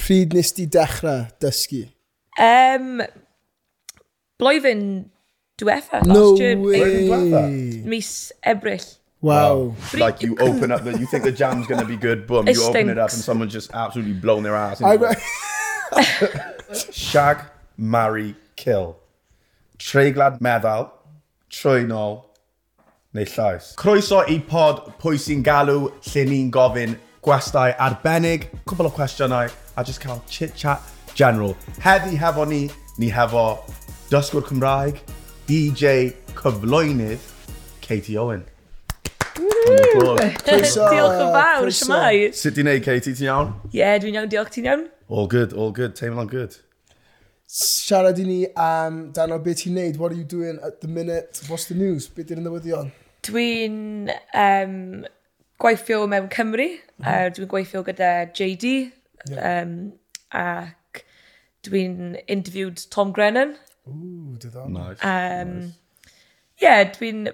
pryd nes ti dechrau dysgu? Um, blwyddyn diwetha, last No year. way. April- Mis Ebrill. Wow. Like you open up, the, you think the jam's gonna be good, boom, It you open it up, stinks. and someone's just absolutely blown their ass. I, into it. Shag, marry, kill. Treiglad meddal, trwynol, neu llais. Croeso i pod pwy sy'n galw lle ni'n gofyn gwestai arbennig, cwbl o cwestiynau a just cael chit-chat general. Heddi hefo ni, ni hefo dysgwr Cymraeg, DJ cyflwynydd, Katie Owen. Croeso, Diolch yn fawr, croeso. siamai. Ie, Sut di wneud, Katie? Ti'n iawn? yeah, dwi'n iawn, diolch ti'n iawn. All good, all good. Teimlo'n good. Siarad i ni am dan o beth ti'n neud. What are you doing at the minute? What's the news? Be di'r newyddion? Dwi'n um, gweithio mewn Cymru. Mhm. Mm -hmm. uh, dwi'n gweithio gyda JD. Um, ac dwi'n interviewed Tom Grennan. Ooh, diddorol. Nice. Um, Ie, yeah, dwi'n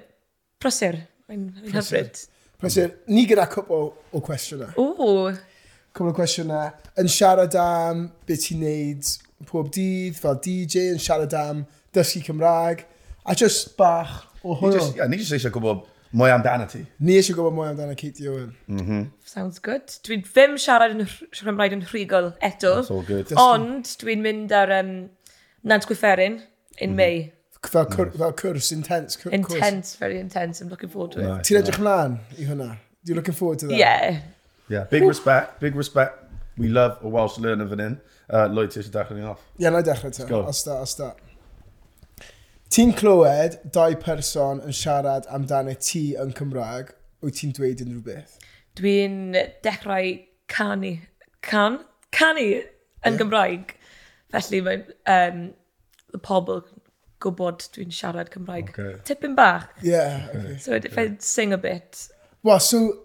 prysur. Mae'n mae'n hyfryd. Prysur, ni gyda cwpl o cwestiynau. O, Cwpl o cwestiynau yn siarad am beth ti'n neud pob dydd fel DJ, yn siarad am dysgu Cymraeg, a just bach o Ni hwyl. jyst- ie, Ni jyst eisiau gwybod mwy amdano ti. Ni eisiau gwybod mwy amdano Katie Owen. sounds good. Dwi'n ddim siarad yn rh- Cymraeg yn rhugol eto. It's all good. Ond dwi'n mynd ar um, Nant Gwyfferin in Mhm. May. Fel, cwr, fel cwrs, intense cwrs. Intense, very intense. I'm looking forward to it. Ti'n edrych mlaen i hwnna? Do you looking forward to that? Yeah. Yeah, big respect, big respect. We love a Welsh learner fan hyn. Uh, Lloyd, ti eisiau dechrau ni off? Ie, na i dechrau ta. go. Os da, os da. Ti'n clywed dau person yn siarad amdano ti yn Cymraeg, wyt ti'n dweud unrhyw beth? Dwi'n dechrau canu. Can? Canu yn Gymraeg. Felly mae um, y pobl gwybod dwi'n siarad Cymraeg. Ocê. Tipyn bach. Ie, yeah, okay. So if I sing a bit, Well, so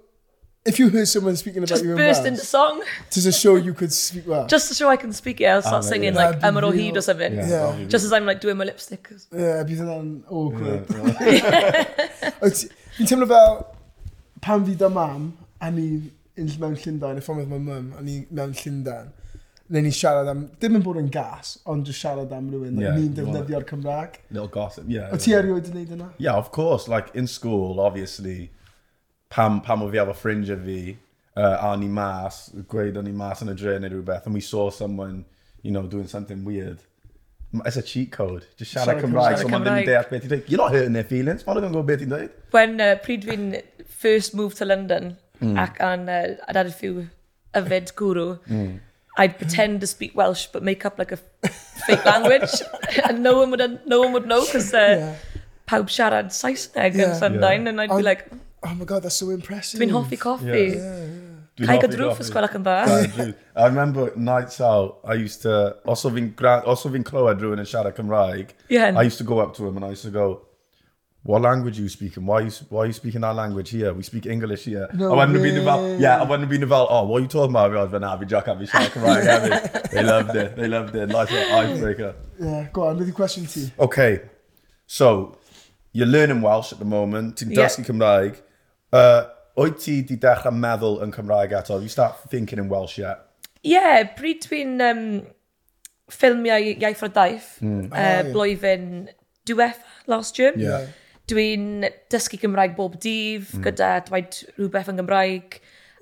if you heard someone speaking about just you in burst Welsh, into song, does it show you could speak Welsh? just to show I can speak it, I'll start Ah, singing yeah. like That'd be Amaro Hyd real- or something. Yeah. Just as I'm like doing my lipstick. Ie, bydd hwnna'n awkward. Wyt ti- Fi'n teimlo fel pan fi da mam, a ni yn- mewn Llundain, y ffordd oedd mae mum, a ni mewn Llundain, neu ni siarad am, dim yn bod yn gas, ond jyst siarad am rhywun, Ie, yeah, ni'n you wanna- defnyddio'r Cymraeg. Little gossip, yeah. O ti erioed yn neud yna? Yeah, of course. Like in school, obviously, pam, pam o fi efo ffrindiau fi, uh, a ni mas, gweud o'n ni mas yn y dre neu rhywbeth, and we saw someone, you know, doing something weird. M- It's a cheat code. Just shout out Siarad Cymraeg. Cymraeg. So mae ddim yn Cymraeg. deall beth i dweud. You're not hurting their feelings. Mae nhw'n gwybod beth i dweud. When uh, pryd fi'n first moved to London, ac an, uh, I'd had a few yfed guru, I'd pretend to speak Welsh but make up like a fake language, and no one would no one would know because uh, Yeah. pawb siarad Saesneg Yeah. yn Sundain, Yeah. mm. and I'd Ond- be like, Oh my god, that's so impressive. dwi'n hoffi coffi. Yeah. Dwi'n Cai hoffi- gadrwf hoffi. ysgol ac yn dda. Dude, I remember nights out, I used to, os oedd fi'n gra- os oedd fi'n clywed rhywun yn siarad Cymraeg, Yeah. I used to go up to him and I used to go, what language are you speaking? Why are you, why are you speaking that language here? We speak English here. No I went to be way. about, yeah, I went to be about, oh, what are you talking about? I was like, nah, fi joc, fi siarad Cymraeg hefyd. They loved it, they loved it. Nice little icebreaker. Yeah, go on, beth i cwestiwn ti? Okay, so, you're learning Welsh at the moment, ti'n Yeah. dysgu Cymraeg. Uh, Wyt ti di dechrau meddwl yn Cymraeg eto? You start thinking in Welsh yet? Yeah, bryd dwi'n um, ffilmiau iaith o'r daith, Oh, uh, ie. blwyddyn diwetha last year. Yeah. Dwi'n dysgu Gymraeg bob dydd Mm. gyda dweud rhywbeth yn Gymraeg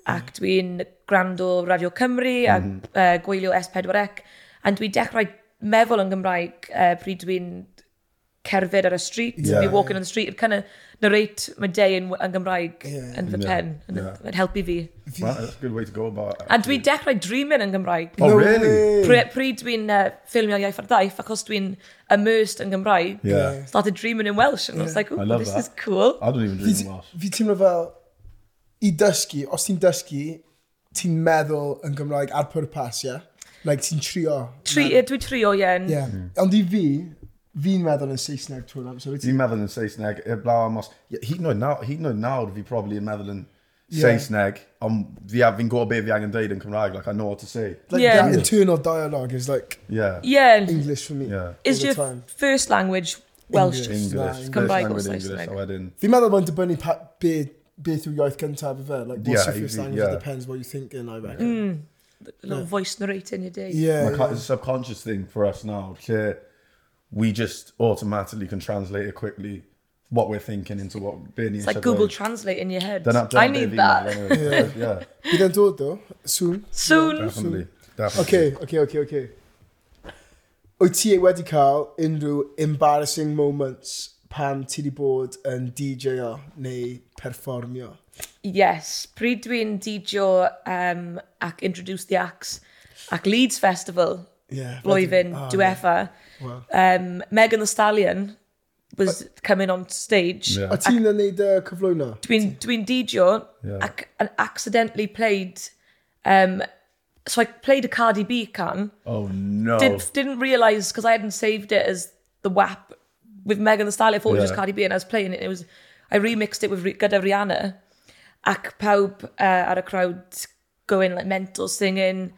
ac dwi'n gwrando Radio Cymru a Mm. uh, gwylio S4C a dwi'n dechrau meddwl yn Gymraeg uh, pryd dwi'n cerdded ar y street, Yeah. yeah. be walking on the street, it kind of narrate my day yn, yn Gymraeg Yeah. yn fy Yeah. pen, yn Yeah. yn helpu fi. Well, that's a good way to go about it. A dwi dechrau dreaming yn Gymraeg. Oh, No really? way. Pry- Pryd dwi'n uh, ffilmio iaith ar daith, achos dwi'n immersed yn Gymraeg, Yeah. started dreaming in Welsh, and I was like, I ooh, love this that. is cool. I don't even Fi, drink Welsh. fi teimlo fel, i dysgu, os ti'n dysgu, ti'n meddwl yn Gymraeg ar pwrpas, ie? Yeah? Like, ti'n trio. Tri, yeah. Dwi trio, ie. Ie. Yeah. Yeah. Ond i fi, fi'n meddwl yn Saesneg trwy'r amser. wyt ti? Ti'n meddwl yn Saesneg, y blaw am os... Ie, Hyd yn oed naw- hyd yn oed nawr fi probably yn meddwl yn Saesneg, ond fi a- fi'n gwybod beth fi angen dweud yn Cymraeg, like I know what to say. Like, Yeah. that internal dialogue is like Yeah. yeah. English for me. Yeah. Is all the your time. first language Welsh? English. English. Saesneg. First Cymraeg language o English, Saesneg. a wedyn... Fi'n meddwl mae'n dibynnu pa- be, beth yw iaith cyntaf i fe. Like, what's Yeah, your first i fi- language? yeah. Mm. It depends what you think in, I reckon. the little voice narrating your day. Yeah. Like, It's a subconscious thing for us now. Okay, we just automatically can translate it quickly what we're thinking into what being It's like Google Translate in your head. I need that. Anyway. yeah, Bydd e'n dod o, soon. Soon. definitely. definitely. Okay, okay, okay, okay. Wyt ti e wedi cael unrhyw embarrassing moments pan ti di bod yn DJ-o neu perfformio? Yes, pryd dwi'n didio um, ac Introduce the Axe ac Leeds Festival Yeah, blwyddyn bloody- oh, diwetha. Wow. Um, Megan Thee Stallion was coming on stage. Yeah. A ti'n yn neud y cyflwyno? Dwi'n dwi didio Yeah. ac and accidentally played... Um, so I played a Cardi B can. Oh no. Did, Didn't realise because I hadn't saved it as the WAP with Megan Thee Stallion. I thought it was Yeah. just Cardi B and I was playing it. And it was, I remixed it with Ri- gyda Rihanna. ac pawb uh, ar y crowd going like mental singing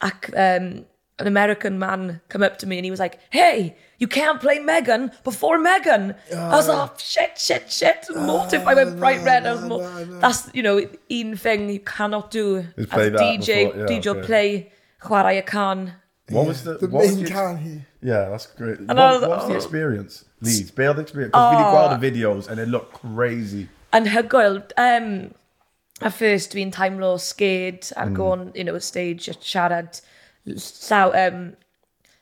ac um, an American man come up to me and he was like hey you can't play Megan before Megan I was like oh, shit shit shit Ah, mortified I went bright red I was no, more, no, no. that's you know un thing you cannot do as Is play a that DJ before- yeah, DJ okay. play chwarae y can what was the, The what was main the- can here. Yeah, that's great. What, I was- what was the oh. experience? Leeds, bail the experience. Because we did the videos and they look crazy. anhygoel. Um, at first, dwi'n taimlo scared ar mm. gôn, you know, y stage, a siarad llaw, um,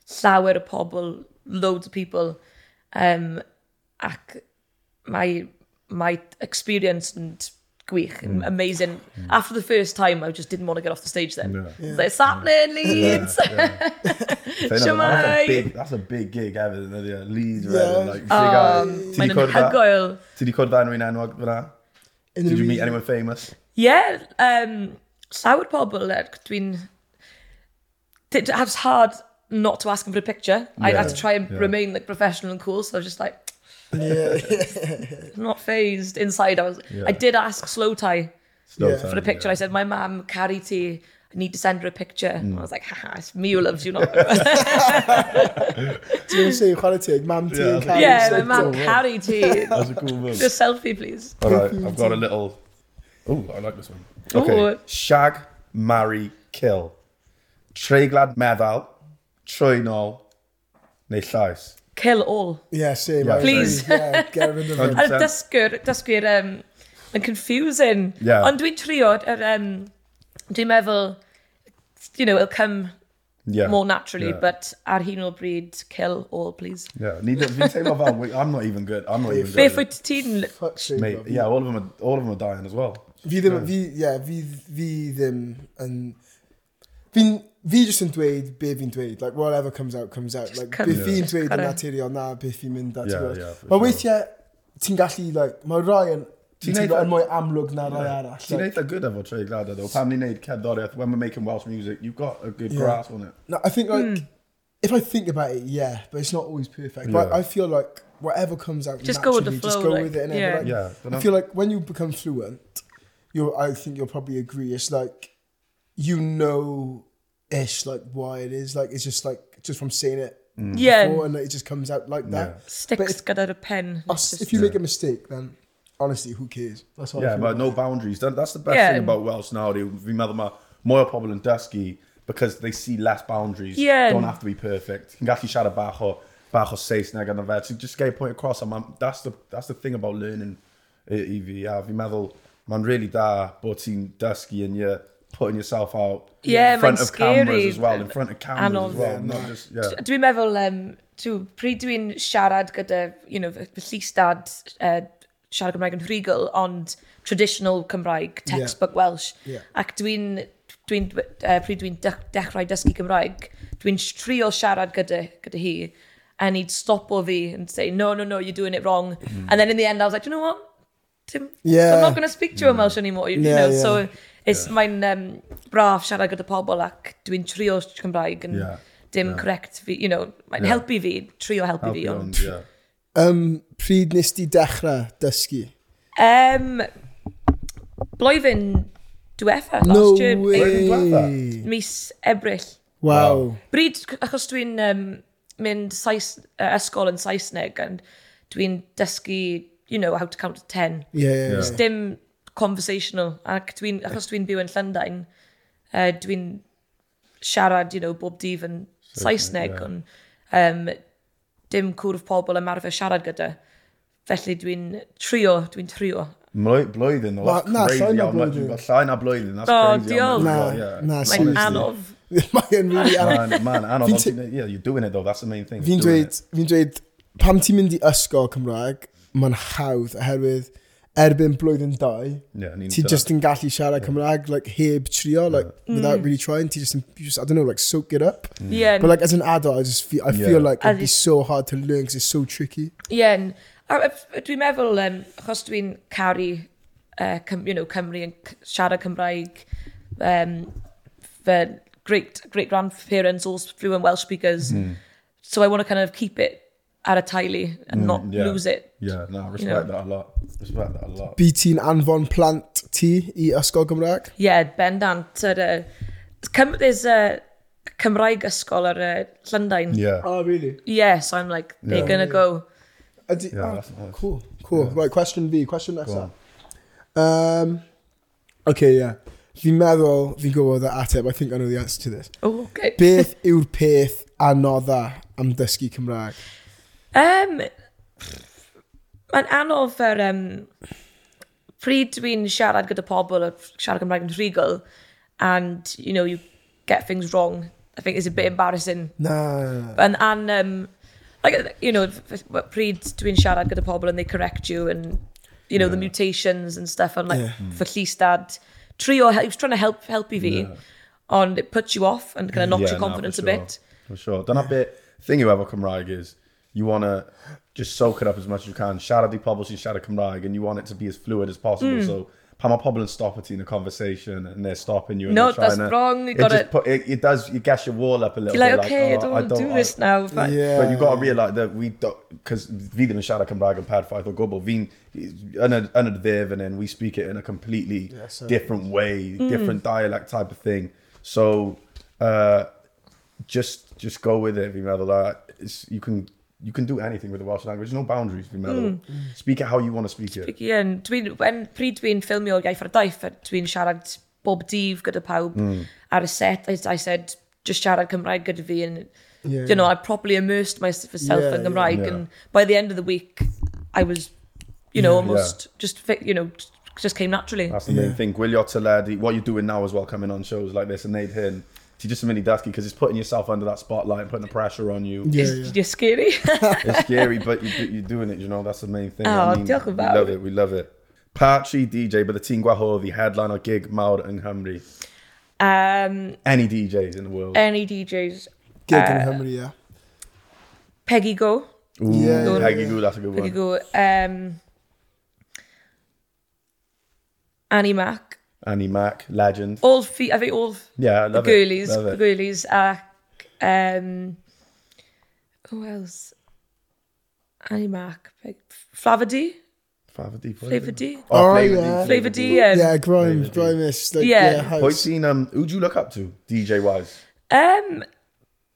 llawer o pobl, loads of people. Um, ac my, my experience and gwych, and amazing. After the first time, I just didn't want to get off the stage then. Yeah. I was like, It's happening, Leeds! They know, That's a Shemai. big, that's a big gig, Evan. isn't it? Leeds, Yeah. yeah. like, um, Mae'n anhygoel. Did you call that Rwy'n enwog fyna? Did you meet anyone famous? Yeah, um, llawer pobl er, dwi'n... It was hard not to ask him for a picture. I had to Yeah, try and yeah. remain like professional and cool, so I was just like, Yeah. I'm not phased. Inside, I was. Yeah. I did ask Slow Tie No Yeah. time, for a picture. I said, "My mum, Carrie T, I need to send her a picture." Mm. And I was like, "Haha, it's me who loves you, not." Ti'n say chwarae teg, mam ti Yeah, yn cael yeah, my ei mum, Carrie T. That was a cool move. Just selfie, please. All right, I've got a little. Oh, I like this one. Ooh. Okay. Shag, marry, kill. Treiglad meddal, trwyno, neu llais. Kill all. Yeah, same. Yeah. I- Please. Yeah, get rid of it. A'r Sen- dysgwyr, dysgwyr um, yn confusing. Yeah. Ond dwi'n trio, yr, um, dwi'n meddwl, you know, it'll come Yeah. more naturally, yeah. but ar hyn o bryd, kill all, please. Yeah, need to fi'n teimlo fel, we- I'm not even good. I'm not even Be good. ffwyd ti'n... Fuck sake, Mate, bro. yeah, all of them are all of them are dying as well. Fi ddim, fi, yeah, fi, fi ddim yn... Fi'n, fi jyst yn dweud be fi'n dweud, like whatever comes out, comes out. Like, come- be fi'n Just dweud yn carry on. naturiol na, be fi'n mynd at. Yeah, ti'n gwbod? yeah, for Mae sure. weithiau, ti'n gallu, like, mae rai yn... Ti'n neud teimlo y- yn mwy amlwg na rai arall. Ti'n like- eitha good efo Trey Glada though. Pam ni'n neud cerddoriaeth, when we're making Welsh music, you've got a good grasp on it. No, I think like Hmm. if I think about it, yeah, but it's not always perfect. But Yeah. I feel like whatever comes out, Just go naturally, with the Just flow, go like, with it. innit? yeah. But, Yeah, like, but I I'm- feel like when you become fluent, you I think you'll probably agree. It's like you know, ish, like why it is. Like it's just like just from saying it, Yeah, before, and like, it just comes out like that. But sticks if, gyda'r pen. us- if you make a mistake, then honestly, who cares? That's all. I Yeah, feel. but no boundaries. That, that's the best Yeah. thing about Welsh nowadays. Fi'n meddwl mae mwy o pobl yn dysgu because they see less boundaries. Yeah. Don't have to be perfect. Ti'n gallu siarad bach o, bach o Saesneg yn y fe. Ti'n just get your point across. And man, that's, the, that's the thing about learning E i, i fi. A fi'n meddwl, mae'n really da bod ti'n dysgu and you're putting yourself out Yeah, in front mae'n of cameras scary. as well. In front of cameras Anodd. as well. Yeah, not no. just, yeah. Dwi'n meddwl, um, tw, pryd dwi'n siarad gyda, you know, fy llistad uh, siarad Gymraeg yn rhugl, ond traditional Cymraeg, textbook Welsh. Yeah. Ac dwi'n, dwi'n, uh, pryd dwi'n dech, dechrau dysgu Cymraeg, dwi'n s- trio siarad gyda, gyda hi, and he'd stop o fi and say, no, no, no, you're doing it wrong. And then in the end, I was like, "Do you know what? Tim, Yeah. I'm not going to speak to you in Welsh anymore. You, Yeah, know, yeah. so it's mae'n um, braf siarad gyda pobl ac dwi'n trio Cymraeg yn Yeah. dim correct fi, you know, mae'n Yeah. helpu fi, trio helpu Help fi, you on, ond... yeah. Um, pryd nes ti dechrau dysgu? Um, blwyddyn diwetha, last No year, way. Blwyddyn mis Ebrill. Wow. Bryd, c- achos dwi'n um, mynd Saes, uh, ysgol yn Saesneg, and dwi'n dysgu, you know, how to count to ten. Yeah, yeah, yeah. Dim conversational, ac dwi'n, achos dwi'n byw yn Llundain, uh, dwi'n siarad, you know, bob dydd yn Saesneg, ond um, dim cwrf pobl ymarfer siarad gyda. Felly dwi'n trio, dwi'n trio. Mlwy- Blwyddyn, well, that's Na, na, crazy llai na how much blwyddyn. you've got. Llai na blwyddyn, that's Oh, crazy how much Na, you've got, yeah. na, Mae'n seriously. anodd. Mae'n really anodd. Man, man, anodd, Fi'n ond te- ti'n- yeah, you're doing it though, that's the main thing. Fi'n doing dweud, fi'n dweud, pam ti'n mynd i ysgol Cymraeg, mae'n hawdd oherwydd erbyn blwyddyn dau, it. Yeah, I need ti to- just yn gallu siarad Cymraeg, like, heb trio, like, without really trying, ti just, yn- you just, I don't know, like, soak it up. Yeah, But like as an adult, I just feel, I Yeah. feel like it'd As be it- so hard to learn because it's so tricky. Ie, n- a a- dwi'n meddwl, um, achos dwi'n caru uh, Cym, you know, Cymru yn c- siarad Cymraeg, um, fy great, great grandparents all flew in Welsh speakers, Hmm. so I want to kind of keep it ar y taulu and not Hmm, yeah. lose it. Yeah, no, I respect know. that a lot. Respect that a lot. By ti'n anfon plant ti i ysgol Gymraeg? Yeah, bendant. Ar, uh, Cym, there's a Cymraeg ysgol ar uh, Llundain. Yeah. Oh, really? Yeah, so I'm like, they're Yeah. gonna go. Ydy, Yeah, yeah, that's nice. cool, cool. Yeah. Right, question fi, question nesaf. Um, okay, yeah. Fi'n meddwl, fi'n gwybod y ateb, I think I know the answer to this. Oh, okay. Beth yw'r peth anodda am dysgu Cymraeg? Um, Mae'n anodd fer... Um, pryd dwi'n siarad gyda pobl a siarad Cymraeg yn rhugl, and, you know, you get things wrong, I think it's a bit embarrassing. Na. And, and um, like, you know, f- f- pryd dwi'n siarad gyda pobl and they correct you and, you know, the mutations and stuff, and like, "Mm, Yeah. yeah. llystad, trio, he was trying to help, helpu fi, ond it puts you off and kind of knocks your no, confidence for a sure. bit. For sure. Dyna bit thing you have Cymraeg is you want to just soak it up as much as you can. Siarad i pobl sy'n siarad Cymraeg and you want it to be as fluid as possible. Mm. So pan mae pobl yn stop at you in a conversation and they're stopping you and No, they're trying that's to, wrong, you it, gotta- just put, it, it does, you guess your wall up a little You're like, bit. okay, oh, I don't want to do this now. But Yeah. But you've got to realise that we don't, because fi ddim yn siarad Cymraeg yn perffaith o gwbl, fi'n yn y, yn y ddyf and then we speak it in a completely Yes, sir. different way, different dialect type of thing. So, uh, just just go with it, fi'n meddwl, a it's, you can you can do anything with the Welsh language, no boundaries, fi'n meddwl. Speak it how you want to Mm. speak it. Ie, yn- dwi'n, when, pryd dwi'n ffilmio iaith ar y daith, a dwi'n siarad bob dydd gyda pawb Hmm. mm. ar y set, I, I said, just siarad Cymraeg gyda fi, and, Yeah. you know, I probably immersed myself Yeah, in Gymraeg, yeah. and by the end of the week, I was, you know, almost, Yeah. just, fi- you know, just- just came naturally. That's the main Yeah. thing. Gwylio teledu, what you're doing now as well, coming on shows like this and Nate Hinn, ti just yn mynd i datgu, because it's putting yourself under that spotlight and putting the pressure on you. Yeah, It's- yeah. You're scary. It's scary, but you, you're doing it, you know, that's the main thing. Oh, diolch we yn fawr. love it, we love it. Patchy DJ, but the team Gwahoddi, headline or gig mawr yng Nghymru. um, Any DJs in the world. any DJs? Gig yn Cymru, yeah. Peggy Go. Ooh, Yeah, yeah, Peggy yeah. Goo, that's a good Peggy one. Go. Um, Annie Mac. Annie Mac, legend. All, fe- I think all, Yeah, I love the it. Ghoulies, Love the it. Ghoulies ac um, who else? Annie Mac, like, Flava D, Flavour D. Flavour Flava D. D, Oh, Flavour D, yeah. Flava D. Um, Yeah, grime, grime is like, Yeah. yeah, Pwy house. sy'n, um, who'd you look up to, DJ wise? um,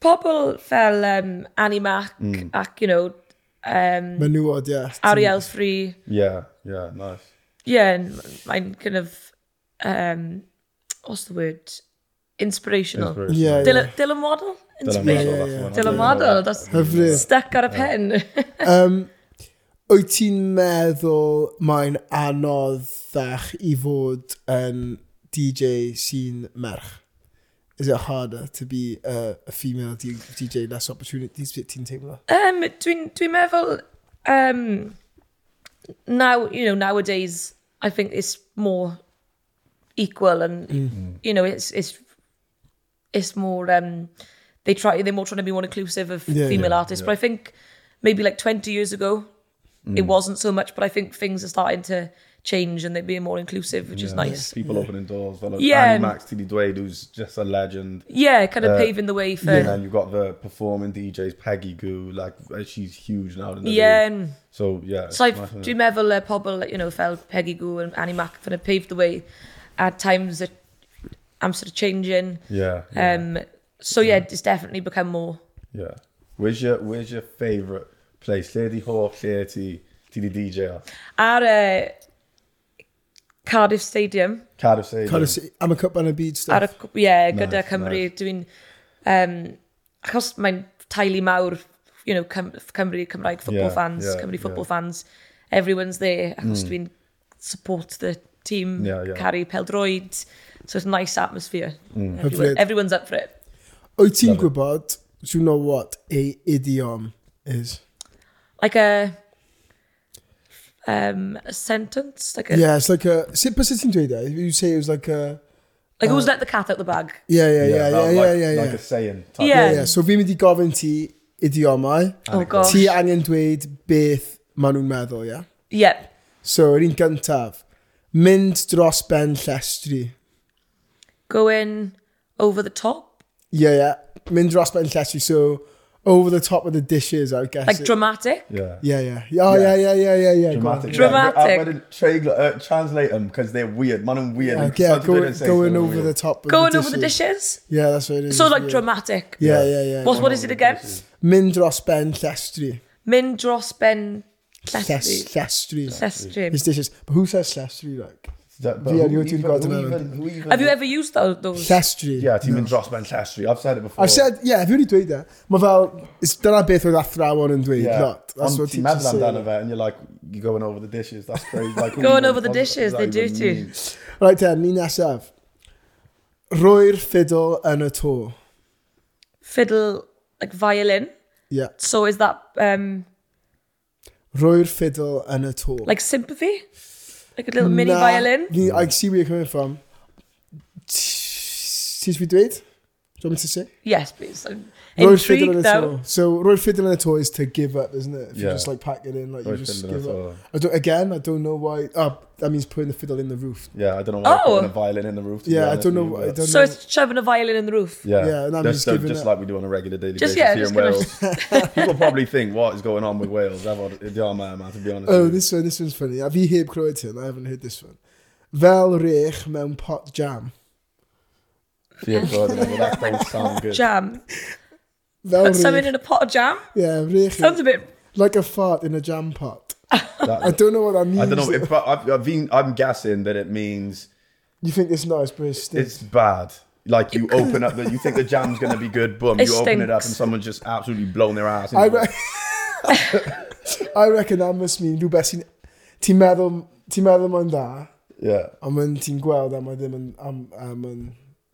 pobl fel um, Annie Mac ac, you know, um, Menywod, yeah. Ariel Free, Yeah, yeah, nice. yeah, and mae'n kind of, um, what's the word? Inspirational. Inspiration. Yeah, yeah. Dylan, Dylan Waddle? Dylan Inspirational. Waddle, that's the one. Dylan Waddle, Oh. that's Hyfryd. stuck ar y pen. Um, wyt ti'n meddwl mae'n anoddach i fod yn DJ sy'n merch? Is it harder to be a, a female D- DJ, less opportunities? Sut Ti'n teimlo? Um, dwi'n dwi meddwl, um, now, you know, nowadays, I think it's more equal and, Mm-hmm. you know, it's, it's, it's more, um, they try, they're more trying to be more inclusive of Yeah, female yeah, artists. yeah. But I think maybe like 20 years ago, Mm. it wasn't so much, but I think things are starting to change and they're being more inclusive, which is nice. People opening doors. Well, like Yeah, Annie and- Mac, TD Dwayne, who's just a legend. Yeah, kind of Uh, paving the way for, And yeah, then you've got the performing DJs, Peggy Goo, like uh, she's huge now. isn't she? and So yeah. it's So I've, nice, isn't dwi'n meddwl uh, pobl, you know, fel Peggy Goo and Annie Mac kind of paved the way at times that I'm sort of changing. it? Yeah. Yeah. Um, so yeah, it's definitely become more. yeah. Where's your Where's your favourite place? Lady Hawk, Lady, to the DJ. Ar uh, Cardiff Stadium. Cardiff Stadium. Cardiff City, am y cup yn y byd Ar stuff. y, cw- ie, gyda Nice, Cymru, dwi'n... Um, achos mae'n taulu mawr, you know, Cym Cymru, Cymraeg football Yeah, fans, yeah, Cymru yeah. football fans, everyone's there, achos dwi'n support the team, Yeah, yeah. carry peldroed, so it's a nice atmosphere. Hyfryd. Everyone, everyone's up for it. Wyt ti'n Love it. gwybod, do you know what a idiom is? Like a... Um, a sentence, like a, Yeah, it's like a... Sut bys ti'n dweud e? You say it was like a... like who's let the cat out the bag? Yeah, yeah, yeah, yeah, that- yeah, like, yeah, Like yeah. a saying. Type Yeah. Yeah, yeah. So fi'n mynd i gofyn ti idiomau. Oh gosh. Ti angen dweid beth maen nhw'n meddwl, yeah? Yeah. So, yr un gyntaf, mynd dros ben llestri. Going over the top, Yeah, yeah. Mynd dros ben llestri, so over the top of the dishes, I guess. like it- dramatic. Yeah. Yeah, yeah. Oh, yeah, Yeah. yeah, yeah, yeah, yeah. go on. Dramatic. Yeah. Dramatic. I wouldn't tra- uh, translate them because they're weird. Man, I'm weird. Like, yeah, Sometimes they go, don't say going something over weird. the top of Going the over the dishes. Yeah, that's what it is. So like yeah. dramatic. Yeah, yeah, yeah. What, what is it again? Mynd dros ben llestri. Mynd dros ben Lles- Llestri. llestri. Llestri. It's dishes. But who says llestri, like? That- Yeah, who you two even- got who them even- out. who even- Have you ever used tho- those? Llestri. Yeah, ti'n mynd dros Ben Llestri. I've said it before. I said, yeah, fi wedi dweud e. Mae fel, is- dyna beth oedd athrawon yn dweud, Yeah. lot. That's Ond what ti'n teachers meddwl amdano say. fe, and you're like, you're going over the dishes, that's crazy. Like, who Going even- over the what does dishes, that they even do too. mean? Right then, ni nesaf. Rwy'r ffidl yn y to. Fiddle, like violin. Yeah. So is that um Rwy'r ffidl yn y to. like sympathy? Like a little mini Na, violin? Ni, I see where you're coming from. Ti'n fi dweud? Do you want me to say? Yes, please. I'm Royal fiddle intrigued in a now. tour. So Royal fiddle in a tour is to give up, isn't it? If you Yeah. just like pack it in, like Royal you just fiddle in a give up. tour. I don't, again, I don't know why. Oh, that means putting the fiddle in the roof. Yeah, I don't know why Oh. oh. putting a violin in the roof. to be Yeah, I honest don't with know you, why- I but- don't So know. it's shoving a violin in the roof. Yeah, Yeah, and I'm just, just so- giving just up. like we do on a regular daily Just, basis yeah, here in just gonna- Wales. People probably think, what is going on with Wales? I've had it on my man, to be honest. Oh, with you. this one, this one's funny. Have you heard Croatian? I haven't heard this one. Vel rech mewn pot jam. Yeah, so I don't know, that don't sound good. Jam. Vel Put something rech. in a pot of jam? Oh, Yeah, Sounds rech. a bit Like a fart in a jam pot. That- I don't know what that means. I don't know. If, I, I've, I've been, I'm guessing that it means You think it's nice, but it's still. it's bad. Like you open up, the, you think the jam's going to be good, boom, you It open it up stinks. and someone's just absolutely blown their ass. I, into it. re- I reckon that must mean rhywbeth sy'n... Ti'n meddwl... Ti'n meddwl mae'n da, yeah. ond mae'n ti'n gweld a mae ddim yn... Am, am yn...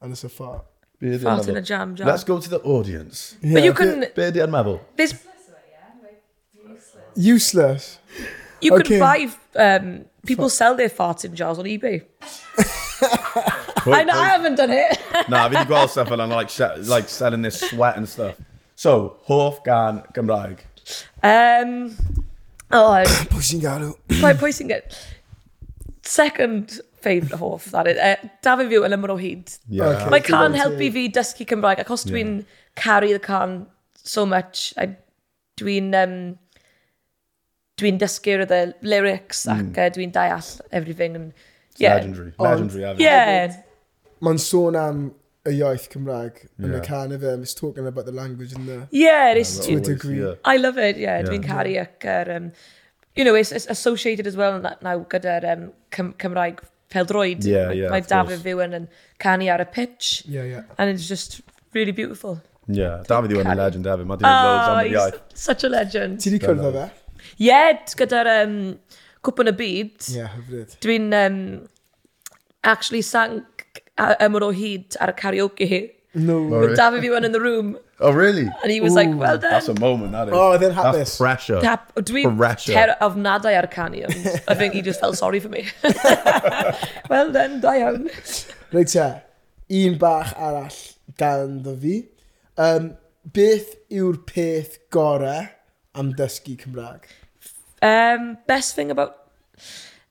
Yn y soffa. Bearded fart in Mabel. a jam jam. Let's go to the audience. But you Yeah, can Bearded and Mabel. there's Useless. you can Okay. buy um people sell their farts in jars on eBay. I know I haven't done it. Nah, fi wedi gweld stuff fel yna, like, se- like selling this sweat and stuff. So, hoff gan Gymraeg. Um, oh, Pwy sy'n galw? pwy, pwy sy'n get second favourite hoff, that is. Uh, Dafydd Fyw yn ymwyr o hyd. Yeah. Okay. Mae Good can idea. helpu fi dysgu Cymraeg, ac os dwi'n caru the can so much, I- dwi'n um, dwi'n dysgu the lyrics Hmm. ac uh, dwi'n deall everything. And, yeah. Legendary. Legendary, hefyd. Yeah. Mae'n sôn am y iaith Cymraeg yn y Yeah. can of him. It's talking about the language in there. Yeah, it's, Always, To a degree. yeah. I love it, yeah, Yeah. dwi'n caru ac yr, um, you know, it's, it's associated as well na- now gyda'r um, Cym Cymraeg peldroed. Yeah, yeah, Mae of course. Dafydd Fywen yn canu ar y pitch, Yeah, yeah. and it's just really beautiful. Yeah. Dafydd yw yn Caru. legend hefyd. Mae dwi'n loads am Oh, y he's iaith. such a legend. Ti di cwrdd o fe? Yeah, gyda'r um, cwpwn y byd, Ie, hyfryd. dwi'n um, actually sang a- ymwyr o hyd ar y karaoke hi. No. Alright. Dafydd Fywen in the room, Oh, really? and he was like, well done. That's a moment, that is. Oh, then have That's this. pressure. Tap, dwi Pressure. ter ofnadau ar canu, ond I think he just felt sorry for me. well then, da iawn. Reit te, un bach arall gan ddo fi. Um, beth yw'r peth gorau am dysgu Cymraeg? Um, best thing about...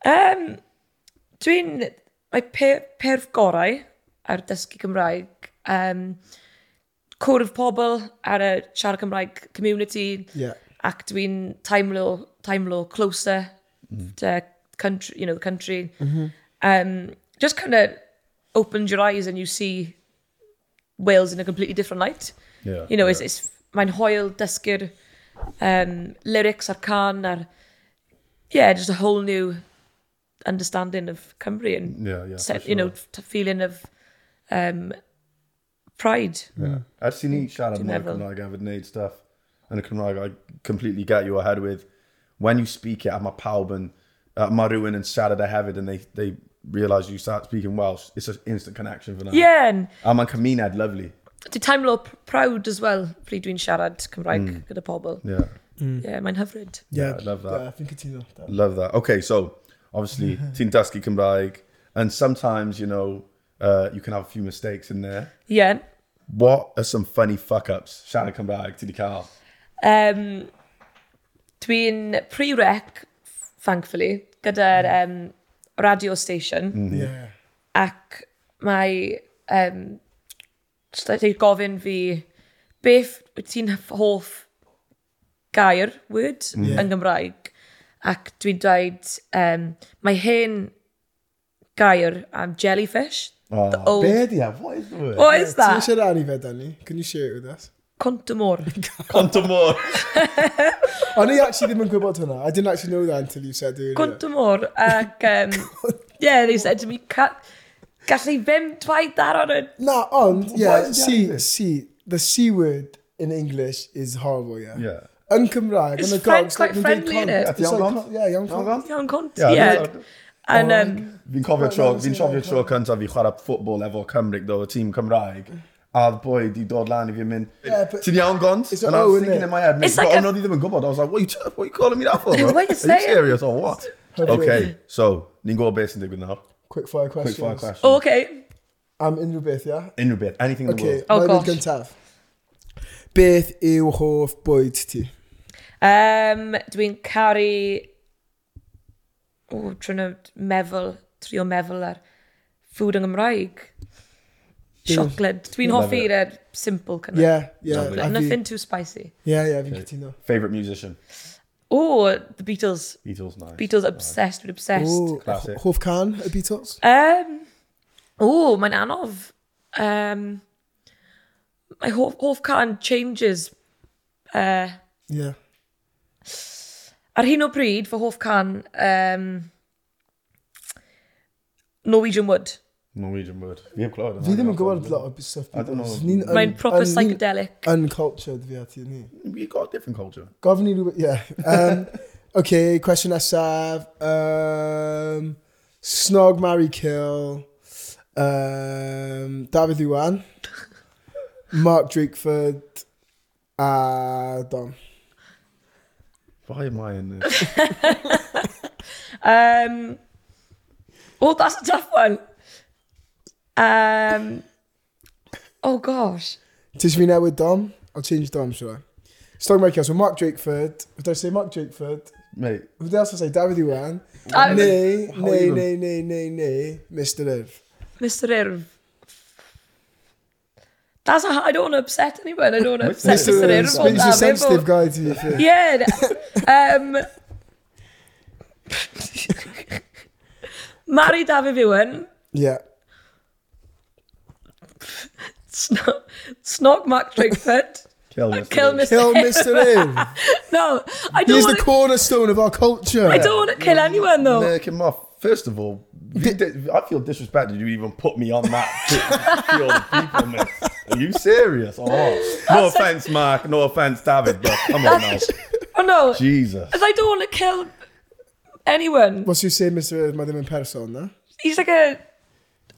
Um, dwi'n... Mae pe, perf gorau ar dysgu Cymraeg. Um, cwrdd pobl ar y siarad Cymraeg community. Ie. Yeah. Ac dwi'n taimlo, taimlo closer to country, you know, the country. Um, just kind of opens your eyes and you see Wales in a completely different light. Yeah, You know, yeah. it's, it's, mae'n hoel dysgu'r um, lyrics a'r can a'r... Yeah, just a whole new understanding of Cymru and Mm, Yeah, yeah, se- for you know sure. t- feeling of um, pride. Ers i ni siarad Dwi'n mwy meddwl. Cymraeg a fod wneud stuff yn y Cymraeg, I completely get you ahead with when you speak it a mae pawb yn, a mae rhywun yn siarad e hefyd and they, they realise you start speaking Welsh, it's an instant connection for now. Yeah, and A mae'n cymuned, lovely. Di teimlo pr- proud as well pryd dwi'n siarad Cymraeg mm. gyda pobl. Yeah, Mm. Yeah, mae'n hyfryd. Yeah, I love that. Yeah, I think it's enough. That. love that. Okay, so obviously ti'n dysgu Cymraeg and sometimes, you know, uh, you can have a few mistakes in there. Yeah. What are some funny fuck-ups siarad Cymraeg ti di cael? Um, dwi'n pre-rec, thankfully, gyda'r Mm. um, radio station. Mm-hmm. Mm. Yeah. ac mae um, wedi gofyn fi beth wyt ti'n hoff gair, word, Ie. yn Gymraeg. Ac dwi'n dweud, um, mae hen gair am jellyfish. Oh, old- Be di e? What is the word? What Can is you that? share that any Danny? Can you share it with us? Contamor. Contamore. I know you actually didn't gwybod hwnna. I didn't actually know that until you said it. Contamor. Ac, um, yeah, they said to me, "Ca- gallai ddim dweud that on a... Nah, ond, yeah, is see, that? see, the C word in English is horrible, yeah. Yeah. Yn Cymraeg, It's yn y gog, friend- quite it's like friendly, yn innit? gig con. Ti It's iawn, like Gon? con- Yeah, young con. Iawn cont, Yeah, yeah. no. And, um, Fi'n cofio tro, no, fi'n it's cofio alright, tro cyntaf fi chwarae ffwtbol efo Cymru, do, y tîm Cymraeg. A oedd boi di dod lan i fi'n mynd, Yeah, but- ti'n iawn gond? It's a And I O, was innit? thinking in my head, mate, It's but like like a- o'n i ddim yn gwybod. I was like, what are you, t- what are you calling me that for? bro? Why you Are you say it? serious or what? Hyfryd. Okay, so, ni'n gwybod beth sy'n digwydd nawr. Quick fire Quick questions. fire question. oh, okay. Am unrhyw beth, yeah? Unrhyw beth, anything in the Okay, world. Oh, mae'n mynd gosh. gyntaf. Beth yw hoff bwyd ti? Um, dwi'n caru... O, trwy'n meddwl, trio meddwl ar ffwd yng Nghymraeg. Siocled. Dwi'n Love hoffi'r er simple kind of. Yeah, yeah. Lovely. a fi- Nothing too spicy. Yeah, yeah, fi'n cytuno. Favourite musician? O, the Beatles. Beatles, nice. Beatles obsessed, dwi'n obsessed. O, Classic. Hoff can y Beatles? Um, o, mae'n anodd. Um, mae hoff, hoff can changes. Uh, Yeah. Oh, ar hyn o bryd, fy hoff can, um, Norwegian Wood. Norwegian word. Fi heb clywed. Fi ddim yn gwybod lot o stuff I don't know. Beatles. Ni'n Mae'n un- proper un- psychedelic. Uncultured fi a ti ni. We've got a different culture. Gofyn i rhywbeth, yeah. Um, okay, cwestiwn nesaf. Um, snog, marry, kill. Um, Dafydd Iwan. Mark Drakeford. A Dom. Why am I in this? Um, oh, that's a tough one. Um, oh gosh. Ti eisiau fi newid Dom? I'll change Dom, sure. Snog, marry, kill. So Mark Drakeford. Did I say Mark Drakeford? Mate, Who else did I say? Dafydd Iwan. I was- Neu, How neu, even? neu, neu, neu, neu, Mr Irv. Mr. Irv. That's a, I don't want to upset anyone. I don't want to upset Mr. Mr. Irv. Irv's on been a that sensitive level. guy to be fair. Yeah. Um, marry Dafydd Iwan. Yeah. Snog, snog Mark Drakeford. kill Mr. Kill Mr. Lewis. Kill Mr Irv. No, I don't He's want the cornerstone of our culture. I don't want to kill anyone though. Nick him off. First of all, you did- I feel disrespected you even put me on that field of people, man. Are you serious? Oh, no offense, Mark. No offense, David. But come on now. Oh no, because Jesus. I don't want to kill anyone. What's your say, Mr. Irv? Mae ddim yn person, na? He's like a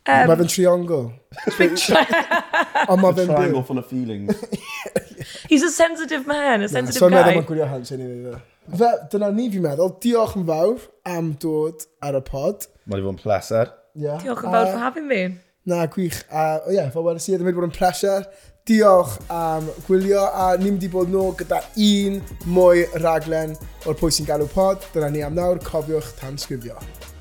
Um, mae fe'n triongl. Ond mae fe'n byw. Triangle full of feelings. he's a sensitive man, a sensitive So meddwl guy. mae'n gwirio hans anyway. Fe. Fe, dyna ni fi'n meddwl. Diolch yn fawr am dod ar y pod. Not even plastered. Yeah. Diolch yn A- fawr for having me. Na, gwych. A, o ie, fel wedi si, ddim wedi bod yn pleasure. Diolch am gwylio, a ni'n mynd i bod nôl gyda un mwy raglen o'r pwy sy'n galw pod. Dyna ni am nawr, cofiwch tan sgrifio.